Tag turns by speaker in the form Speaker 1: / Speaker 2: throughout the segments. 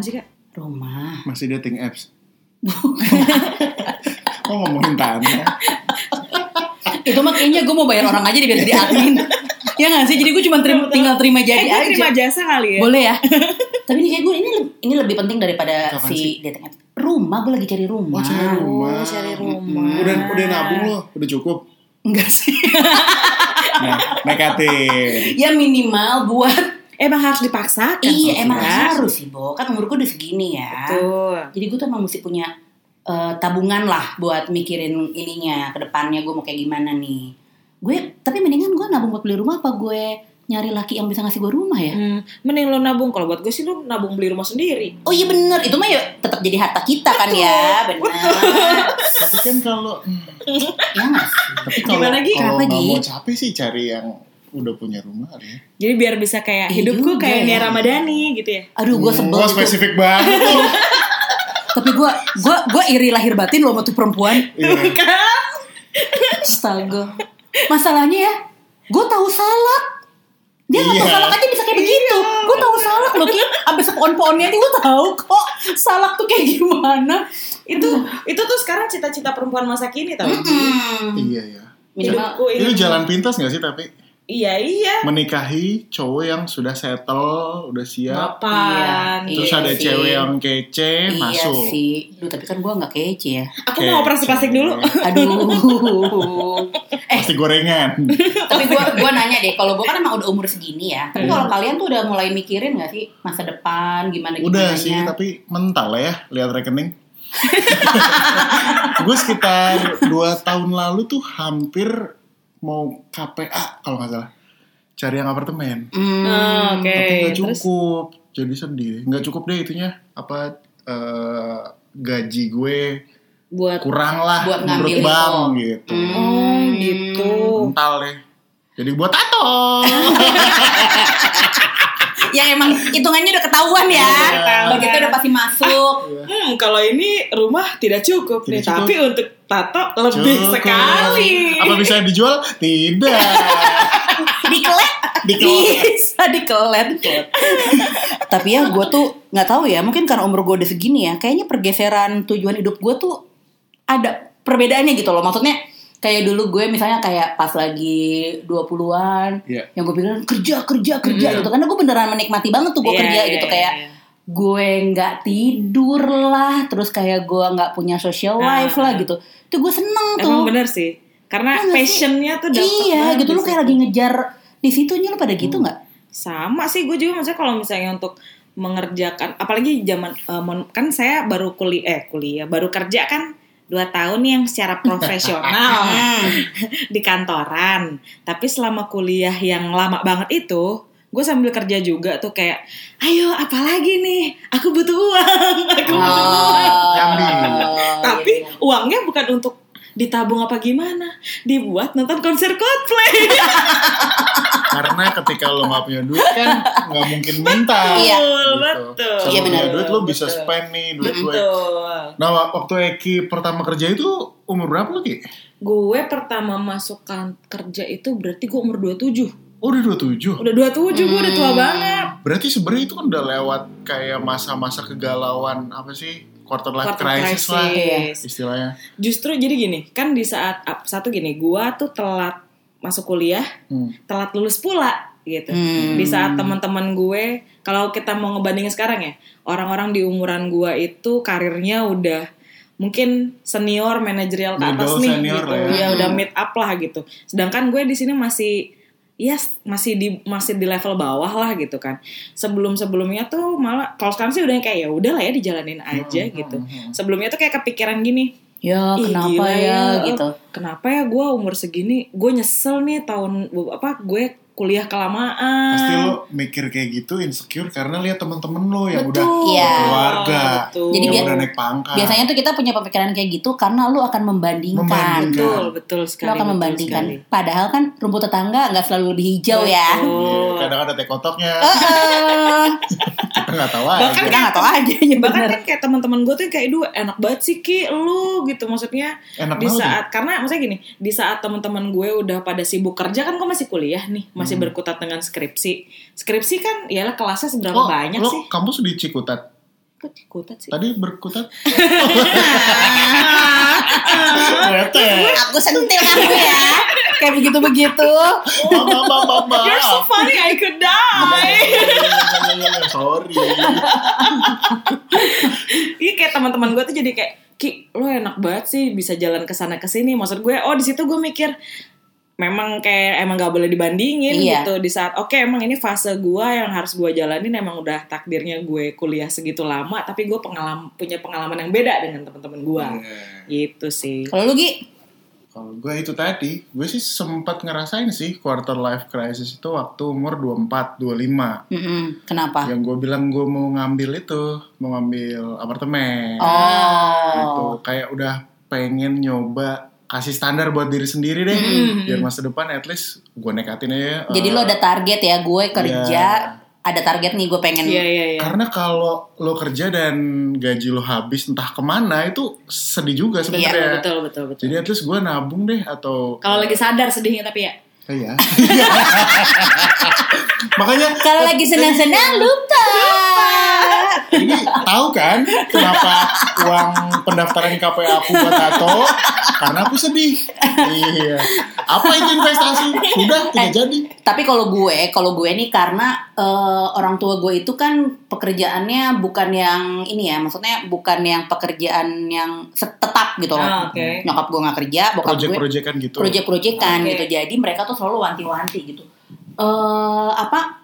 Speaker 1: Iya.
Speaker 2: aplikasi dating apps? Kok ngomongin Tano?
Speaker 3: itu mah kayaknya gue mau bayar orang aja deh biar jadi admin ya nggak sih jadi gue cuma terima- tinggal terima jadi
Speaker 1: eh, gue terima
Speaker 3: aja
Speaker 1: jasa kali ya.
Speaker 3: boleh ya tapi ini kayak gue ini le- ini lebih penting daripada
Speaker 2: Kapan sih?
Speaker 3: si dating app rumah gue lagi cari rumah
Speaker 2: Oh, cari rumah.
Speaker 1: cari rumah.
Speaker 2: Udah, udah nabung loh, udah cukup.
Speaker 3: enggak sih
Speaker 2: Nah, nekatin.
Speaker 3: ya minimal buat
Speaker 1: Emang harus dipaksakan.
Speaker 3: iya emang
Speaker 1: Sofia.
Speaker 3: harus sih bo kan umur gue udah segini ya
Speaker 1: Betul.
Speaker 3: jadi gue tuh emang mesti punya eh, tabungan lah buat mikirin ininya kedepannya gue mau kayak gimana nih gue tapi mendingan gue nabung buat beli rumah apa gue nyari laki yang bisa ngasih gue rumah ya
Speaker 1: Hmm, mending lo nabung kalau buat gue sih lo nabung beli rumah sendiri.
Speaker 3: Oh iya bener, itu mah ya tetap jadi harta kita kan ya, bener.
Speaker 2: Tapi kan kalau
Speaker 3: ya nggak sih?
Speaker 2: tapi kalau
Speaker 1: Gimana, Gi?
Speaker 2: kalau
Speaker 3: Kenapa,
Speaker 2: nggak
Speaker 3: Gi?
Speaker 2: mau capek sih cari yang udah punya rumah kali ya.
Speaker 1: Jadi biar bisa kayak
Speaker 3: Iya
Speaker 1: hidupku
Speaker 3: juga
Speaker 1: kayak
Speaker 3: ya.
Speaker 1: Nia Ramadhani gitu ya.
Speaker 3: Aduh, gue sebel.
Speaker 2: Wah,
Speaker 3: tuh.
Speaker 2: Hmm, spesifik banget tuh.
Speaker 3: Tapi gue, gue, gue iri lahir batin loh sama tuh perempuan.
Speaker 2: Iya.
Speaker 1: Kan?
Speaker 3: Astaga. Masalahnya ya, gue tahu salak. Dia nggak tahu
Speaker 2: Iya.
Speaker 3: salak aja bisa kayak begitu. Gue tahu salak loh, Ki. Sampai sepohon-pohonnya aja gue tahu kok salak tuh kayak gimana.
Speaker 1: Itu itu tuh sekarang cita-cita perempuan masa kini tau.
Speaker 3: Hmm.
Speaker 2: Iya ya.
Speaker 3: Minimal.
Speaker 1: Hidupku
Speaker 2: Itu
Speaker 1: ini.
Speaker 2: jalan pintas gak sih tapi
Speaker 1: Iya iya.
Speaker 2: menikahi cowok yang sudah settle, udah siap,
Speaker 3: Iya.
Speaker 1: Mapan.
Speaker 2: Iya. terus ada
Speaker 3: sih.
Speaker 2: cewek yang kece
Speaker 3: Iya
Speaker 2: Eh, masuk.
Speaker 3: sih. Duh, tapi kan gue nggak kece ya.
Speaker 1: Aku mau operasi
Speaker 2: Kece.
Speaker 1: plastik dulu.
Speaker 3: Aduh. Eh,
Speaker 2: Pasti gorengan.
Speaker 3: tapi gua gua nanya deh kalau gua kan emang udah umur segini ya
Speaker 2: Iya.
Speaker 3: tapi kalau kalian tuh udah mulai mikirin gak sih masa depan gimana
Speaker 2: Udah sih,
Speaker 3: iya.
Speaker 2: tapi mental lah ya lihat rekening. gue sekitar 2 tahun lalu tuh hampir mau KPA kalau nggak salah cari yang apartemen Ah,
Speaker 1: Oh,
Speaker 3: hmm,
Speaker 1: Oke.
Speaker 2: tapi nggak
Speaker 1: Terus
Speaker 2: cukup jadi sedih nggak cukup deh itunya apa eh, gaji gue
Speaker 1: buat
Speaker 2: kurang lah
Speaker 3: Buat
Speaker 2: menurut
Speaker 3: ngambil
Speaker 2: bang
Speaker 3: itu.
Speaker 2: gitu
Speaker 3: Hmm.
Speaker 1: Oh gitu.
Speaker 2: mental deh jadi buat tato
Speaker 3: ya emang hitungannya udah ketahuan ya
Speaker 2: Iya.
Speaker 3: begitu udah pasti masuk
Speaker 1: Hmm, kalau ini rumah tidak cukup nih,
Speaker 2: Tidak cukup.
Speaker 1: tapi untuk tato lebih
Speaker 2: Cukup.
Speaker 1: sekali.
Speaker 2: apa bisa dijual tidak
Speaker 3: dikelet
Speaker 2: Dikelet.
Speaker 3: bisa dikelet tapi ya gue tuh nggak tahu ya mungkin karena umur gue udah segini ya kayaknya pergeseran tujuan hidup gue tuh ada perbedaannya gitu loh maksudnya kayak dulu gue misalnya kayak pas lagi 20-an
Speaker 2: Iya.
Speaker 3: yang gue bilang kerja kerja kerja gitu karena gue beneran menikmati banget tuh gue
Speaker 1: Iya,
Speaker 3: kerja
Speaker 1: iya,
Speaker 3: gitu
Speaker 1: iya,
Speaker 3: kayak
Speaker 1: iya.
Speaker 3: gue nggak tidur lah terus kayak gue nggak punya social life lah gitu itu gue seneng tuh
Speaker 1: Ah, Emang bener sih.
Speaker 3: Iya
Speaker 1: Karena
Speaker 3: nggak sih?
Speaker 1: passionnya tuh dapet
Speaker 3: iya
Speaker 1: banget Hmm.
Speaker 3: gitu
Speaker 1: di
Speaker 3: lu kayak lagi ngejar di situnya lu pada gitu nggak
Speaker 1: sama sih gue juga maksudnya kalau misalnya untuk mengerjakan apalagi zaman eh, mon- kan saya baru kuliah eh kuliah baru kerja kan dua tahun yang secara profesional
Speaker 3: Hmm.
Speaker 1: di kantoran tapi selama kuliah yang lama banget itu gue sambil kerja juga tuh kayak ayo apalagi nih aku butuh uang aku butuh uang
Speaker 3: Oh. iya,
Speaker 1: tapi uangnya bukan untuk ditabung apa gimana dibuat nonton konser Coldplay
Speaker 2: karena ketika lo nggak punya duit kan nggak mungkin minta
Speaker 3: Iya.
Speaker 1: Betul, betul.
Speaker 2: Kalau
Speaker 3: Iya,
Speaker 2: lo punya
Speaker 3: benar.
Speaker 2: Gitu. duit lo bisa
Speaker 1: Betul.
Speaker 2: spend nih duit gue
Speaker 1: betul
Speaker 2: nah wak- waktu Eki pertama kerja itu umur berapa lo ki
Speaker 1: Gue pertama masuk kan- kerja itu berarti gue umur 27
Speaker 2: oh, udah 27
Speaker 1: Udah 27 gue udah tua
Speaker 3: Hmm.
Speaker 1: banget
Speaker 2: berarti sebenarnya itu kan udah lewat kayak masa-masa kegalauan apa sih quarter life
Speaker 1: Quarter
Speaker 2: crisis, lah
Speaker 3: iya.
Speaker 1: crisis.
Speaker 2: istilahnya
Speaker 1: Justru jadi gini Kan di saat up- Satu gini Gue tuh telat masuk kuliah
Speaker 2: Hmm.
Speaker 1: Telat lulus pula gitu
Speaker 3: Hmm.
Speaker 1: Di saat teman-teman gue Kalau kita mau ngebandingin sekarang ya Orang-orang di umuran gue itu karirnya udah Mungkin senior manajerial ke atas
Speaker 2: Middle
Speaker 1: nih
Speaker 2: senior
Speaker 1: gitu.
Speaker 2: lah ya.
Speaker 1: Iya, udah mid up lah gitu. Sedangkan gue di sini masih yes masih di masih di level bawah lah gitu kan sebelum sebelumnya tuh malah kalau sekarang sih udah kayak ya udah lah ya dijalanin aja
Speaker 2: Hmm,
Speaker 1: gitu sebelumnya tuh kayak kepikiran gini
Speaker 3: ya
Speaker 1: "Ih,
Speaker 3: kenapa
Speaker 1: gila
Speaker 3: ya gitu
Speaker 1: kenapa ya gue umur segini gue nyesel nih tahun apa gue kuliah kelamaan
Speaker 2: pasti lo mikir kayak gitu insecure karena lihat teman-teman lo yang
Speaker 1: Betul.
Speaker 2: udah
Speaker 3: Iya.
Speaker 2: keluarga
Speaker 1: Betul.
Speaker 3: Jadi
Speaker 2: yang
Speaker 3: biar-
Speaker 2: udah naik
Speaker 1: Ah.
Speaker 2: pangkat
Speaker 3: biasanya tuh kita punya pemikiran kayak gitu karena lu akan membandingkan,
Speaker 2: Membandingkan.
Speaker 1: betul betul sekali
Speaker 3: lu akan
Speaker 1: betul
Speaker 3: membandingkan
Speaker 1: sekali.
Speaker 3: padahal kan rumput tetangga nggak selalu lebih hijau ya
Speaker 1: Betul.
Speaker 2: Iya, kadang ada tekotoknya
Speaker 3: Eh,
Speaker 2: kita nggak tahu
Speaker 1: Bahkan
Speaker 2: aja
Speaker 3: kita nggak tahu aja ya
Speaker 1: bahkan
Speaker 3: bener
Speaker 1: kan kayak teman-teman gue tuh kayak dua enak banget sih ki lu gitu maksudnya
Speaker 2: enak
Speaker 1: di
Speaker 2: banget ya.
Speaker 1: saat karena maksudnya gini di saat teman-teman gue udah pada sibuk kerja kan gue masih kuliah nih masih
Speaker 2: Hmm.
Speaker 1: berkutat dengan skripsi skripsi kan ialah kelasnya seberapa
Speaker 2: Oh,
Speaker 1: banyak
Speaker 2: lo
Speaker 1: sih
Speaker 2: kampus di Cikutat
Speaker 1: Kok cikutat sih?
Speaker 2: Tadi berkutat.
Speaker 1: Iya,
Speaker 2: Bete.
Speaker 3: Aku sentil kamu ya. Kayak begitu-begitu.
Speaker 2: Mama, mama, mama.
Speaker 1: You're so funny, I could
Speaker 2: Iya,
Speaker 1: die.
Speaker 2: Sorry.
Speaker 1: Iya kayak teman-teman gue tuh jadi kayak Ki, lo enak banget sih bisa jalan ke sana ke sini. Maksud gue, oh di situ gue mikir memang kayak emang gak boleh dibandingin
Speaker 3: Iya.
Speaker 1: gitu di saat oke emang ini fase gue yang harus gue jalanin emang udah takdirnya gue kuliah segitu lama tapi gue pengalam punya pengalaman yang beda dengan teman-teman gue
Speaker 2: Iya.
Speaker 1: gitu sih
Speaker 3: Kalau lu Gi,
Speaker 2: Kalau gue itu tadi, gue sih sempat ngerasain sih quarter life crisis itu waktu umur 24, 25.
Speaker 3: Mm-mm. kenapa?
Speaker 1: Ya.
Speaker 2: Yang gue bilang gue mau ngambil itu, mau ngambil apartemen.
Speaker 1: Oh.
Speaker 2: Gitu.
Speaker 3: Oh.
Speaker 2: Kayak udah pengen nyoba kasih standar buat diri sendiri deh.
Speaker 1: Mm-hmm.
Speaker 2: Biar masa depan at least gue nekatin aja.
Speaker 3: Jadi
Speaker 2: eh,
Speaker 3: lo ada target ya gue kerja,
Speaker 1: Ya.
Speaker 3: ada target nih gue pengen.
Speaker 1: iya iya iya
Speaker 2: Karena kalau lo kerja dan gaji lo habis entah kemana itu sedih juga sebenarnya.
Speaker 1: Iya, betul betul betul
Speaker 2: ya. Jadi at least gue nabung deh atau
Speaker 1: kalau lagi sadar sedihnya tapi ya
Speaker 2: Iya. Makanya
Speaker 3: Kalau lagi senang-senang lupa.
Speaker 2: ini tahu kan kenapa uang pendaftaran KPA aku buat tato? Karena aku sedih. Iya. Apa itu investasi? Sudah tidak jadi.
Speaker 3: Tapi kalau gue, kalau gue nih karena eh, orang tua gue itu kan pekerjaannya bukan yang ini ya, maksudnya bukan yang pekerjaan yang tetap gitu loh.
Speaker 1: Ah, oke
Speaker 3: Nyokap gue nggak kerja, bokap gue
Speaker 2: Proyek-proyekan gitu.
Speaker 3: proyek-proyekan
Speaker 1: Oke.
Speaker 3: gitu. Jadi mereka tuh selalu wanti-wanti gitu. Eh apa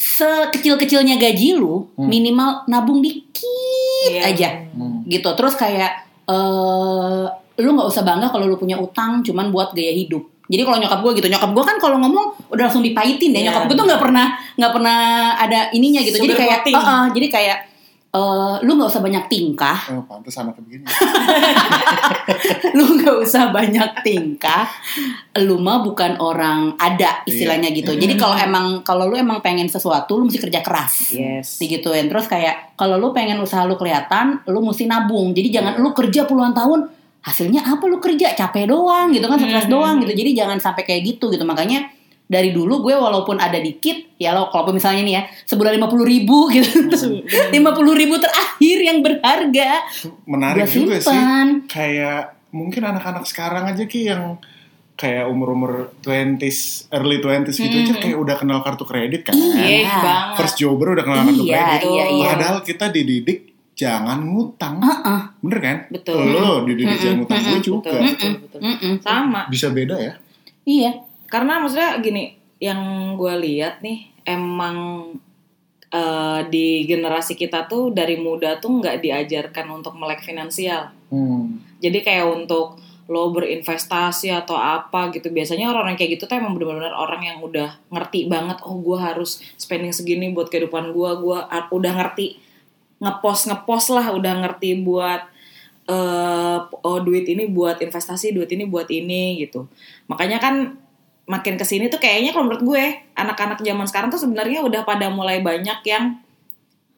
Speaker 3: sekecil-kecilnya gaji lu
Speaker 2: Hmm.
Speaker 3: minimal nabung dikit
Speaker 1: Iya.
Speaker 3: aja
Speaker 2: Hmm.
Speaker 3: gitu. Terus kayak eh lu nggak usah bangga kalau lu punya utang cuman buat gaya hidup. Jadi kalau nyokap gue gitu, nyokap gue kan kalau ngomong udah langsung dipahitin deh.
Speaker 1: Iya.
Speaker 3: Nyokap gue tuh nggak pernah nggak pernah ada ininya gitu. Jadi
Speaker 1: Sugar
Speaker 3: kayak,
Speaker 1: coating.
Speaker 3: "Eh, eh," jadi kayak eh, lu nggak usah banyak tingkah,
Speaker 2: Oh, pantas anaknya begini.
Speaker 3: lu nggak usah banyak tingkah lu mah bukan orang ada istilahnya gitu jadi kalau emang kalau lu emang pengen sesuatu lu mesti kerja keras
Speaker 1: yes
Speaker 3: digituin terus kayak kalau lu pengen usaha lu kelihatan lu mesti nabung jadi jangan lu kerja puluhan tahun hasilnya apa lu kerja capek doang gitu kan stres
Speaker 2: Mm-hmm.
Speaker 1: Hmm.
Speaker 3: doang gitu jadi jangan sampai kayak gitu gitu makanya dari dulu gue walaupun ada dikit ya lo kalau misalnya nih ya sebulan lima puluh ribu gitu
Speaker 2: Mm-hmm.
Speaker 3: lima puluh ribu terakhir yang berharga
Speaker 2: Menarik
Speaker 3: gue
Speaker 2: juga sih.
Speaker 3: simpan
Speaker 2: kayak mungkin anak-anak sekarang aja ki yang kayak umur-umur 20s, early 20s gitu aja kayak udah kenal kartu kredit kan.
Speaker 1: Iya, banget.
Speaker 2: First jobber udah kenal kartu
Speaker 3: Iya,
Speaker 2: kredit.
Speaker 3: iya, iya.
Speaker 2: Padahal kita dididik jangan ngutang.
Speaker 3: Heeh.
Speaker 2: Bener kan?
Speaker 1: Betul.
Speaker 2: Lo dididik jangan ngutang gue juga.
Speaker 1: hmm, betul, betul, betul.
Speaker 3: Mm-mm.
Speaker 1: sama
Speaker 2: Bisa beda ya?
Speaker 3: Iya.
Speaker 1: karena maksudnya gini yang gue lihat nih emang eh, di generasi kita tuh dari muda tuh nggak diajarkan untuk melek finansial
Speaker 2: Hmm.
Speaker 1: jadi kayak untuk lo berinvestasi atau apa gitu biasanya orang-orang kayak gitu tuh emang benar-benar orang yang udah ngerti banget oh gue harus spending segini buat kehidupan gue gue udah ngerti ngepost ngepost lah udah ngerti buat eh oh duit ini buat investasi duit ini buat ini gitu makanya kan makin kesini tuh kayaknya kalau menurut gue anak-anak zaman sekarang tuh sebenarnya udah pada mulai banyak yang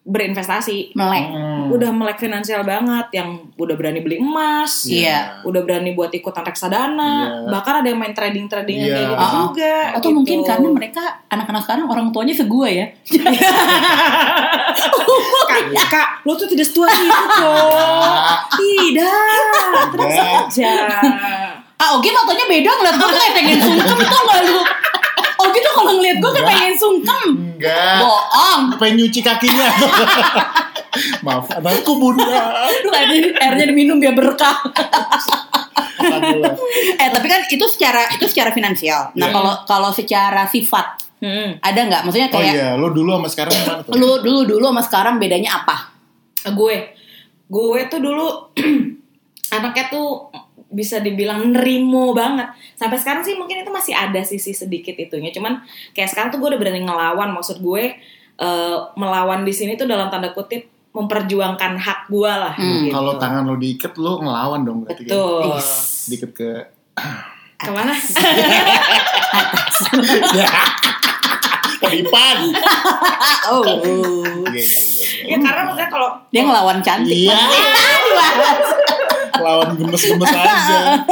Speaker 1: berinvestasi
Speaker 3: Melek.
Speaker 2: Hmm.
Speaker 1: udah melek finansial banget yang udah berani beli emas
Speaker 3: Iya.
Speaker 1: udah berani buat ikutan reksadana
Speaker 2: Iya.
Speaker 1: bahkan ada yang main trading trading
Speaker 2: Iya.
Speaker 1: kayak gitu
Speaker 3: Ah, ah.
Speaker 1: juga
Speaker 3: Atau
Speaker 1: gitu.
Speaker 3: mungkin karena mereka anak-anak sekarang orang tuanya segua ya.
Speaker 1: kak,
Speaker 2: Iya.
Speaker 1: kak lo tuh tidak setua itu kok tidak terus
Speaker 2: Tidak.
Speaker 1: aja
Speaker 3: Ah, Ogi matanya beda ngeliat gue tuh kayak pengen sungkem tuh gak lu? Ogi tuh kalau ngeliat gue kayak pengen sungkem. Ah.
Speaker 2: Enggak.
Speaker 3: Boong.
Speaker 2: Pengen nyuci kakinya. Maaf, anakku bunda.
Speaker 3: Lu tadi airnya diminum biar berkah.
Speaker 2: Alhamdulillah.
Speaker 3: eh tapi kan itu secara itu secara finansial. Nah
Speaker 2: Iya.
Speaker 3: kalau kalau secara sifat
Speaker 1: Hmm.
Speaker 3: ada nggak? Maksudnya
Speaker 2: Oh
Speaker 3: kayak
Speaker 2: iya, lo dulu sama sekarang gimana tuh?
Speaker 3: lu dulu dulu sama sekarang bedanya apa?
Speaker 1: Eh, gue gue tuh dulu anaknya tuh bisa dibilang nerimo banget sampai sekarang sih mungkin itu masih ada sisi sedikit itunya cuman kayak sekarang tuh gue udah berani ngelawan maksud gue eh, melawan di sini tuh dalam tanda kutip memperjuangkan hak gue lah
Speaker 3: Hmm,
Speaker 1: gitu.
Speaker 2: Kalau tangan lo diikat, lo ngelawan dong berarti. kan?
Speaker 1: betul
Speaker 2: Dikit ke
Speaker 1: kemana
Speaker 2: Kedipan.
Speaker 3: Iya. Oh, Iya. Ya.
Speaker 1: ya karena maksudnya kalau
Speaker 3: dia ngelawan cantik.
Speaker 2: Iya. Lawan gemes-gemes aja.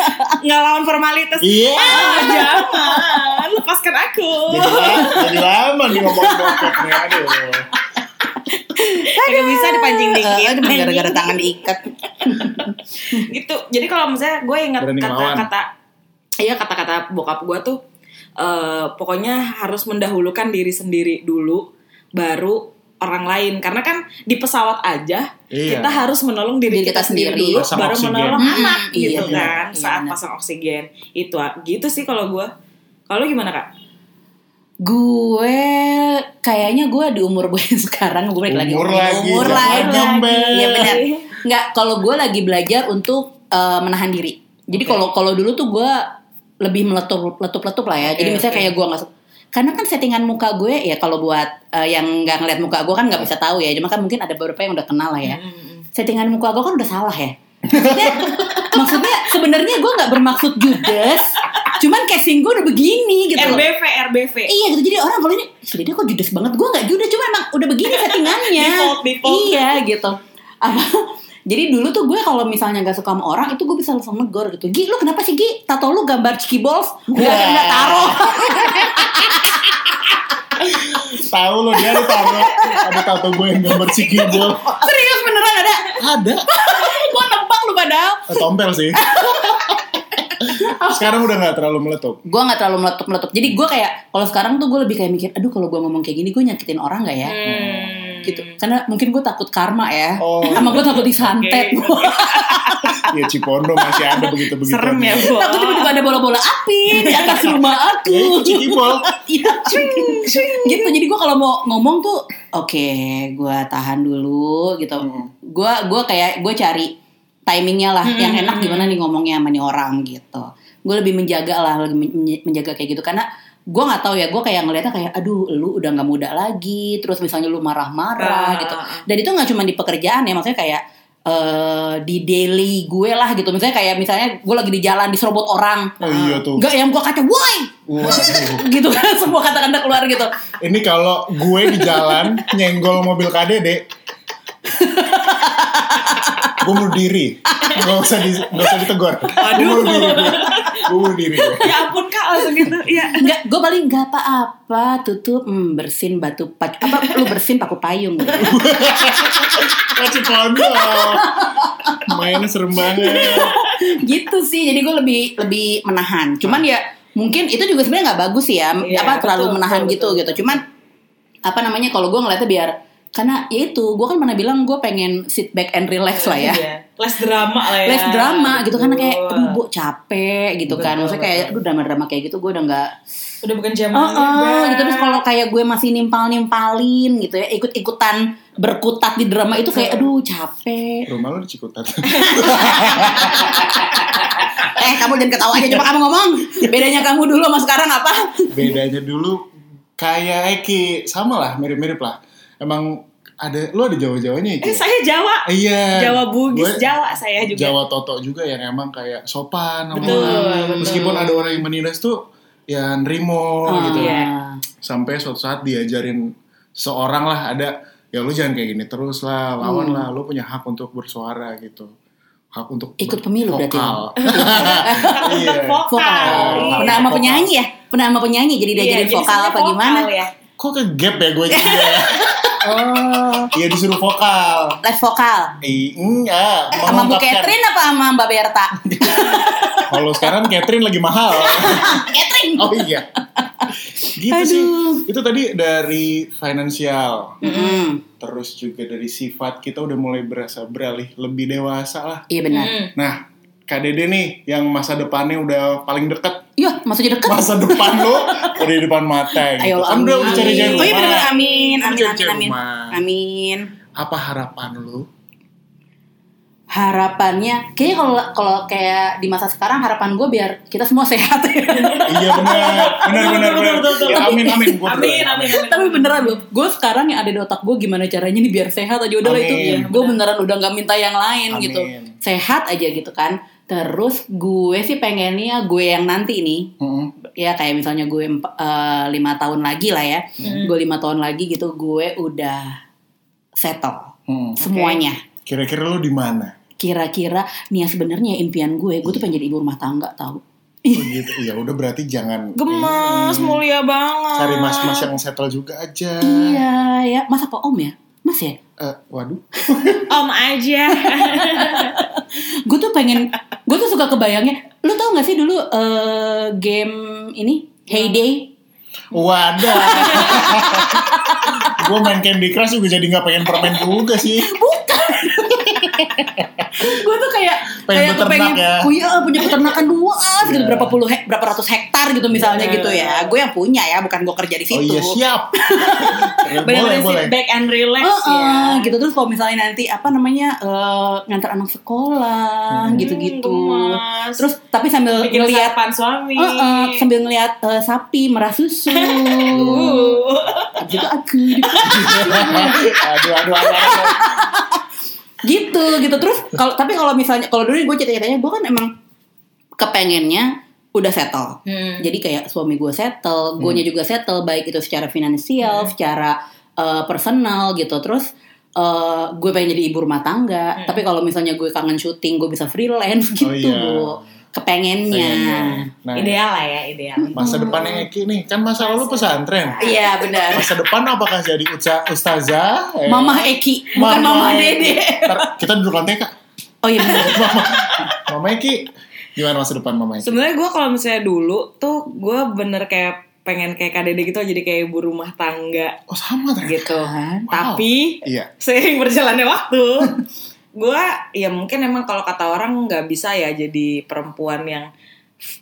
Speaker 1: ngelawan formalitas
Speaker 2: Iya.
Speaker 1: ah, jangan
Speaker 3: Iya.
Speaker 1: lepaskan aku
Speaker 2: Jadi, la- jadi lama nih ngomong bokep nih aduh.
Speaker 1: Kagak bisa dipancing dikit.
Speaker 3: Eh, gara-gara tangan diikat
Speaker 1: gitu jadi kalau misalnya gue ingat
Speaker 2: Berani ngelawan.
Speaker 1: kata-kata iya kata-kata bokap gue tuh eh, pokoknya harus mendahulukan diri sendiri dulu baru orang lain karena kan di pesawat aja
Speaker 2: Iya.
Speaker 1: kita harus menolong diri,
Speaker 3: Diri kita
Speaker 1: kita, sendiri,
Speaker 3: sendiri.
Speaker 1: dulu
Speaker 2: Pasang
Speaker 1: baru
Speaker 2: oksigen.
Speaker 1: menolong
Speaker 3: Hmm,
Speaker 1: anak
Speaker 3: iya,
Speaker 1: gitu
Speaker 3: benar.
Speaker 1: kan
Speaker 3: Iya,
Speaker 1: saat
Speaker 3: benar.
Speaker 1: pasang oksigen itu ah. gitu sih kalau gue kalau lu gimana kak
Speaker 3: gue kayaknya gue di umur gue yang sekarang gue balik lagi
Speaker 2: Umur lagi,
Speaker 3: umur
Speaker 2: jangan
Speaker 3: lagi
Speaker 2: nyombel.
Speaker 3: iya
Speaker 1: Eh.
Speaker 3: benar nggak kalau gue lagi belajar untuk eh, menahan diri jadi
Speaker 1: Oke.
Speaker 3: kalau kalau dulu tuh gue lebih meletup letup letup lah ya jadi
Speaker 1: Oke,
Speaker 3: misalnya
Speaker 1: Iya, oke.
Speaker 3: kayak gue nggak karena kan settingan muka gue ya kalau buat eh, yang nggak ngeliat muka gue kan nggak bisa tahu ya cuma kan mungkin ada beberapa yang udah kenal lah ya
Speaker 1: Mm-mm.
Speaker 3: settingan muka gue kan udah salah ya maksudnya, maksudnya sebenarnya gue nggak bermaksud judes cuman casing gue udah begini gitu loh.
Speaker 1: RBV RBV
Speaker 3: Iya gitu jadi orang kalau ini "Si Dede kok judes banget gue nggak judes cuma emang udah begini settingannya
Speaker 1: Default, default.
Speaker 3: iya gitu apa jadi dulu tuh gue kalau misalnya nggak suka sama orang itu gue bisa langsung negor gitu Gi lu kenapa sih Gi tato lu gambar Ciki Balls nggak
Speaker 2: Wah.
Speaker 3: kena taruh
Speaker 2: Tahu lo dia ada tato, ada tato gue yang gambar si Gibol.
Speaker 3: serius beneran ada
Speaker 2: Ada,
Speaker 3: gue nebak lu padahal
Speaker 2: Eh, tompel sih. Sekarang udah nggak terlalu meletup.
Speaker 3: gue nggak terlalu meletup meletup jadi gue kayak kalau sekarang tuh gue lebih kayak mikir aduh kalau gue ngomong kayak gini gue nyakitin orang nggak ya
Speaker 1: Hmm.
Speaker 3: gitu karena mungkin gue takut karma ya
Speaker 2: Oh.
Speaker 3: sama gue takut disantet
Speaker 1: Oke, oke.
Speaker 2: Ya Cipondo masih ada begitu begitu.
Speaker 1: serem ya Bu.
Speaker 3: takut tiba-tiba ada bola-bola api di atas rumah aku
Speaker 2: Ya, itu Cikibol.
Speaker 3: Iya, gitu jadi gue kalau mau ngomong tuh oke gua tahan dulu gitu
Speaker 1: Hmm.
Speaker 3: gua gua kayak gue cari timingnya lah yang
Speaker 1: hmm,
Speaker 3: enak gimana nih ngomongnya sama nih orang gitu gue lebih menjaga lah lebih men- menjaga kayak gitu karena gua nggak tahu ya gue kayak ngeliatnya kayak aduh lu udah nggak muda lagi terus misalnya lu marah-marah
Speaker 1: Ah.
Speaker 3: gitu dan itu nggak cuma di pekerjaan ya maksudnya kayak eh, di daily gue lah gitu misalnya kayak misalnya gue lagi di jalan diserobot orang
Speaker 2: Oh iya tuh.
Speaker 3: nggak yang gua kata woi
Speaker 2: Waduh.
Speaker 3: gitu kan semua kata-kata keluar gitu
Speaker 2: Ini kalau gue di jalan nyenggol mobil KDD, gue bunuh diri. Gak usah di, gak usah ditegur. Gue bunuh diri. Gue bunuh diri.
Speaker 1: ya ampun kak langsung gitu ya
Speaker 3: nggak gue paling nggak apa-apa tutup hmm, bersin batu pac apa lu bersin paku payung gitu.
Speaker 2: Wah, Cipondo. Mainnya serem banget.
Speaker 3: gitu sih jadi gue lebih lebih menahan cuman ya mungkin itu juga sebenarnya nggak bagus sih ya
Speaker 1: Iya,
Speaker 3: apa terlalu
Speaker 1: betul,
Speaker 3: menahan
Speaker 1: betul,
Speaker 3: gitu
Speaker 1: betul.
Speaker 3: gitu cuman apa namanya kalau gue ngeliatnya biar karena ya itu gue kan pernah bilang gue pengen sit back and relax lah ya
Speaker 1: Iya. Les drama lah ya.
Speaker 3: les drama gitu karena kayak
Speaker 1: Betul.
Speaker 3: aduh bu capek gitu kan
Speaker 1: Betul,
Speaker 3: maksudnya kayak
Speaker 1: betul.
Speaker 3: aduh drama-drama kayak gitu gue udah nggak
Speaker 1: udah bukan zaman
Speaker 3: Oh, oh,
Speaker 1: juga.
Speaker 3: gitu terus kalau kayak gue masih nimpal nimpalin gitu ya ikut ikutan berkutat di drama itu kayak aduh capek
Speaker 2: Rumah lo di Cikutat.
Speaker 3: eh kamu jangan ketawa aja coba kamu ngomong bedanya kamu dulu sama sekarang apa
Speaker 2: Bedanya dulu kayak Eki. Sama lah, mirip-mirip lah. Emang ada, lo ada Jawa-Jawanya Eki?
Speaker 1: eh saya Jawa
Speaker 2: Iya.
Speaker 1: Jawa Bugis
Speaker 2: Gue-
Speaker 1: Jawa
Speaker 3: Iya
Speaker 1: saya juga
Speaker 2: Jawa Toto juga ya, yang emang kayak sopan sama
Speaker 1: Betul,
Speaker 2: orang.
Speaker 1: betul.
Speaker 2: meskipun ada orang yang menindas tuh ya nerimo gitu
Speaker 3: Ah,
Speaker 1: Iya.
Speaker 2: sampai suatu saat diajarin seorang lah ada ya lu jangan kayak gini terus lah
Speaker 3: Hmm.
Speaker 2: lawan lah lu punya hak untuk bersuara gitu hak untuk
Speaker 3: Ikut pemilu berarti. ya?
Speaker 2: bervokal.
Speaker 1: Untuk
Speaker 2: iya.
Speaker 1: vokal,
Speaker 3: vokal
Speaker 1: Iya.
Speaker 3: pernah sama penyanyi ya pernah sama penyanyi jadi
Speaker 1: Iya,
Speaker 3: diajarin
Speaker 1: jadi
Speaker 3: vokal
Speaker 1: sebenarnya
Speaker 3: apa gimana
Speaker 1: vokal ya.
Speaker 2: kok ke gap ya gue gitu ya
Speaker 3: oh
Speaker 2: Iya, disuruh vokal
Speaker 3: live vokal
Speaker 2: Ih, enggak
Speaker 1: Oh,
Speaker 3: sama Bu
Speaker 2: mengungkapkan.
Speaker 3: Catherine apa sama Mbak Berta
Speaker 2: kalau sekarang Catherine lagi mahal
Speaker 3: Catherine
Speaker 2: Oh iya. gitu sih. Itu tadi dari finansial,
Speaker 3: Mm-mm.
Speaker 2: terus juga dari sifat kita udah mulai berasa beralih lebih dewasa lah.
Speaker 3: iya benar
Speaker 1: Hmm.
Speaker 2: Nah, Kak Dede nih yang masa depannya udah paling deket
Speaker 3: yuk Iya, masuk deket
Speaker 2: masa depan lo udah di depan mata
Speaker 3: ayo
Speaker 2: gitu. kan
Speaker 3: amin
Speaker 2: udah udah cari cari
Speaker 3: oh iya benar
Speaker 2: rumah.
Speaker 3: amin amin
Speaker 2: Cari-cari
Speaker 3: amin amin
Speaker 2: rumah.
Speaker 3: amin
Speaker 2: Apa harapan lo?
Speaker 3: harapannya kayaknya kalau kalau kayak di masa sekarang harapan gue biar kita semua sehat
Speaker 2: iya benar, benar benar benar. Ya, amin amin gue
Speaker 1: amin amin amin.
Speaker 3: tapi beneran loh gue sekarang yang ada di otak gue gimana caranya nih biar sehat aja udah lah itu
Speaker 2: Amin.
Speaker 3: gue beneran udah nggak minta yang lain
Speaker 2: Amin.
Speaker 3: gitu sehat aja gitu kan terus gue sih pengennya gue yang nanti nih ya kayak misalnya gue emp- eh, lima tahun lagi lah ya gue lima tahun lagi gitu gue udah settle semuanya
Speaker 2: Kira-kira lo di mana?
Speaker 3: kira-kira nih ya sebenarnya impian gue gue tuh pengen jadi ibu rumah tangga tau
Speaker 2: Oh, gitu. Ya udah berarti jangan
Speaker 1: gemes
Speaker 2: Hmm.
Speaker 1: mulia banget
Speaker 2: cari mas-mas yang settle juga aja.
Speaker 3: Iya ya, masa Pak Om ya? Mas ya?
Speaker 2: eh, waduh
Speaker 1: Om aja.
Speaker 3: gue tuh pengen gue tuh suka kebayangnya lu tau gak sih dulu eh, game ini Heyday
Speaker 2: wadah gue main Candy Crush juga jadi nggak pengen permen juga sih
Speaker 3: gue tuh kayak kayak
Speaker 2: Pengen beternak
Speaker 3: kepengen
Speaker 2: ya.
Speaker 3: oh iya, punya peternakan luas gitu
Speaker 2: Iya.
Speaker 3: berapa puluh hek- berapa ratus hektar gitu misalnya gitu ya gue yang punya ya bukan gue kerja di
Speaker 2: oh
Speaker 3: situ
Speaker 2: iya siap Keren, boleh
Speaker 1: Bener-bener
Speaker 2: boleh
Speaker 1: sit back and relax
Speaker 3: Oh,
Speaker 1: ya.
Speaker 3: oh, gitu terus kalau misalnya nanti apa namanya eh, ngantar anak sekolah
Speaker 2: Hmm,
Speaker 3: gitu-gitu
Speaker 1: gemes.
Speaker 3: terus tapi sambil
Speaker 1: Bikin
Speaker 3: ngeliat
Speaker 1: sarapan suami.
Speaker 3: eh, eh, sambil ngeliat eh, sapi merah susu
Speaker 2: Iya.
Speaker 1: Uh.
Speaker 3: Abis itu aku
Speaker 2: aduh aduh aduh, aduh.
Speaker 3: gitu gitu terus kalau tapi kalau misalnya kalau dulu gue cerita-ceritanya gue kan emang kepengennya udah settle
Speaker 1: Hmm.
Speaker 3: jadi kayak suami gue settle gue juga settle baik itu secara finansial secara eh, personal gitu terus eh, gue pengen jadi ibu rumah tangga tapi kalau misalnya gue kangen syuting gue bisa freelance gitu
Speaker 2: Oh, iya.
Speaker 3: Bu. kepengennya
Speaker 2: nah
Speaker 1: Ideal lah ya, ideal.
Speaker 2: masa depannya Eki nih kan masa lalu pesantren
Speaker 3: iya benar
Speaker 2: masa depan apakah jadi uca- ustazah Eh,
Speaker 3: Mama Eki bukan Mama,
Speaker 2: Eki.
Speaker 3: Dede
Speaker 2: Ntar kita duduk lantai kak
Speaker 3: oh iya benar.
Speaker 2: mama, mama Eki gimana masa depan mama Eki
Speaker 1: Sebenarnya gue kalau misalnya dulu tuh gue bener kayak pengen kayak KDD gitu jadi kayak ibu rumah tangga
Speaker 2: oh sama ternyata
Speaker 1: gitu.
Speaker 3: Tuhan
Speaker 1: Tapi
Speaker 2: iya
Speaker 1: seiring berjalannya waktu, gue ya mungkin emang kalau kata orang nggak bisa ya jadi perempuan yang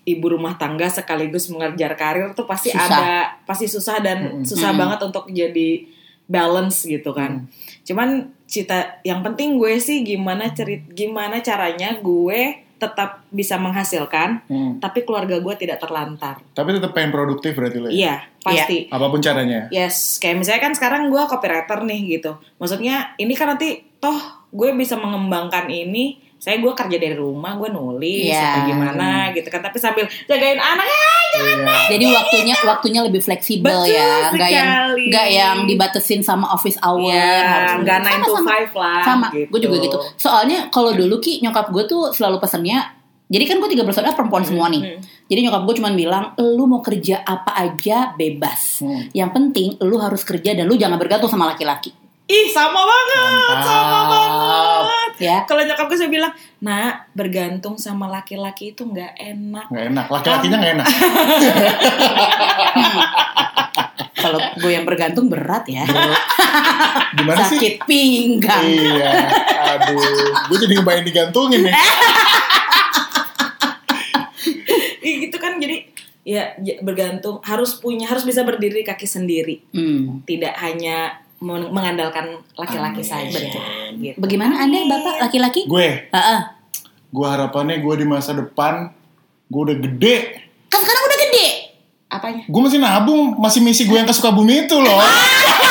Speaker 1: ibu rumah tangga sekaligus mengejar karir tuh pasti
Speaker 3: Susah.
Speaker 1: ada pasti susah dan susah
Speaker 3: Mm-mm.
Speaker 1: banget untuk jadi balance gitu kan. Cuman cita yang penting gue sih gimana cerit gimana caranya gue tetap bisa menghasilkan
Speaker 2: Hmm.
Speaker 1: tapi keluarga gue tidak terlantar.
Speaker 2: tapi tetap pengen produktif berarti lo ya?
Speaker 1: Iya, pasti.
Speaker 2: apapun caranya
Speaker 1: Yes, kayak misalnya kan sekarang gue copywriter nih gitu. Maksudnya ini kan nanti toh gue bisa mengembangkan ini. Saya gue kerja dari rumah, gue nulis
Speaker 3: Iya.
Speaker 1: atau gimana gitu kan. Tapi sambil jagain anak ya.
Speaker 2: iya.
Speaker 3: Jadi waktunya waktunya lebih fleksibel
Speaker 1: Betul
Speaker 3: ya, nggak yang
Speaker 1: sekali.
Speaker 3: nggak yang dibatesin sama office hour. harus
Speaker 1: Iya, nggak 9 to
Speaker 3: sama,
Speaker 1: 5 lah.
Speaker 3: sama.
Speaker 1: gitu.
Speaker 3: Gue juga gitu. Soalnya kalau dulu ki nyokap gue tuh selalu pesennya. Jadi kan gue tiga bersaudara perempuan semua nih.
Speaker 1: Hmm.
Speaker 3: Jadi nyokap gue cuman bilang, lu mau kerja apa aja bebas.
Speaker 2: Hmm.
Speaker 3: Yang penting lu harus kerja dan lu jangan bergantung sama laki-laki.
Speaker 1: Ih, sama banget, sama
Speaker 2: Mantap.
Speaker 1: banget.
Speaker 3: Ya,
Speaker 1: Kalau nyokap gue saya bilang, nak bergantung sama laki-laki itu nggak enak.
Speaker 2: nggak enak laki-lakinya nggak enak
Speaker 3: kalau gue yang bergantung berat ya.
Speaker 2: gimana sih
Speaker 3: Sakit pinggang.
Speaker 2: iya aduh gue jadi ngebayang digantungin nih
Speaker 1: Ih, gitu kan jadi ya j- bergantung harus punya harus bisa berdiri kaki sendiri
Speaker 3: Hmm.
Speaker 1: tidak hanya men- mengandalkan laki-laki saja gitu.
Speaker 3: Bagaimana anda bapak laki-laki?
Speaker 2: gue
Speaker 3: Heeh.
Speaker 2: gue harapannya gue di masa depan gue udah gede
Speaker 3: Kan sekarang udah gede.
Speaker 1: apanya
Speaker 2: gue masih nabung masih misi gue yang ke Sukabumi itu loh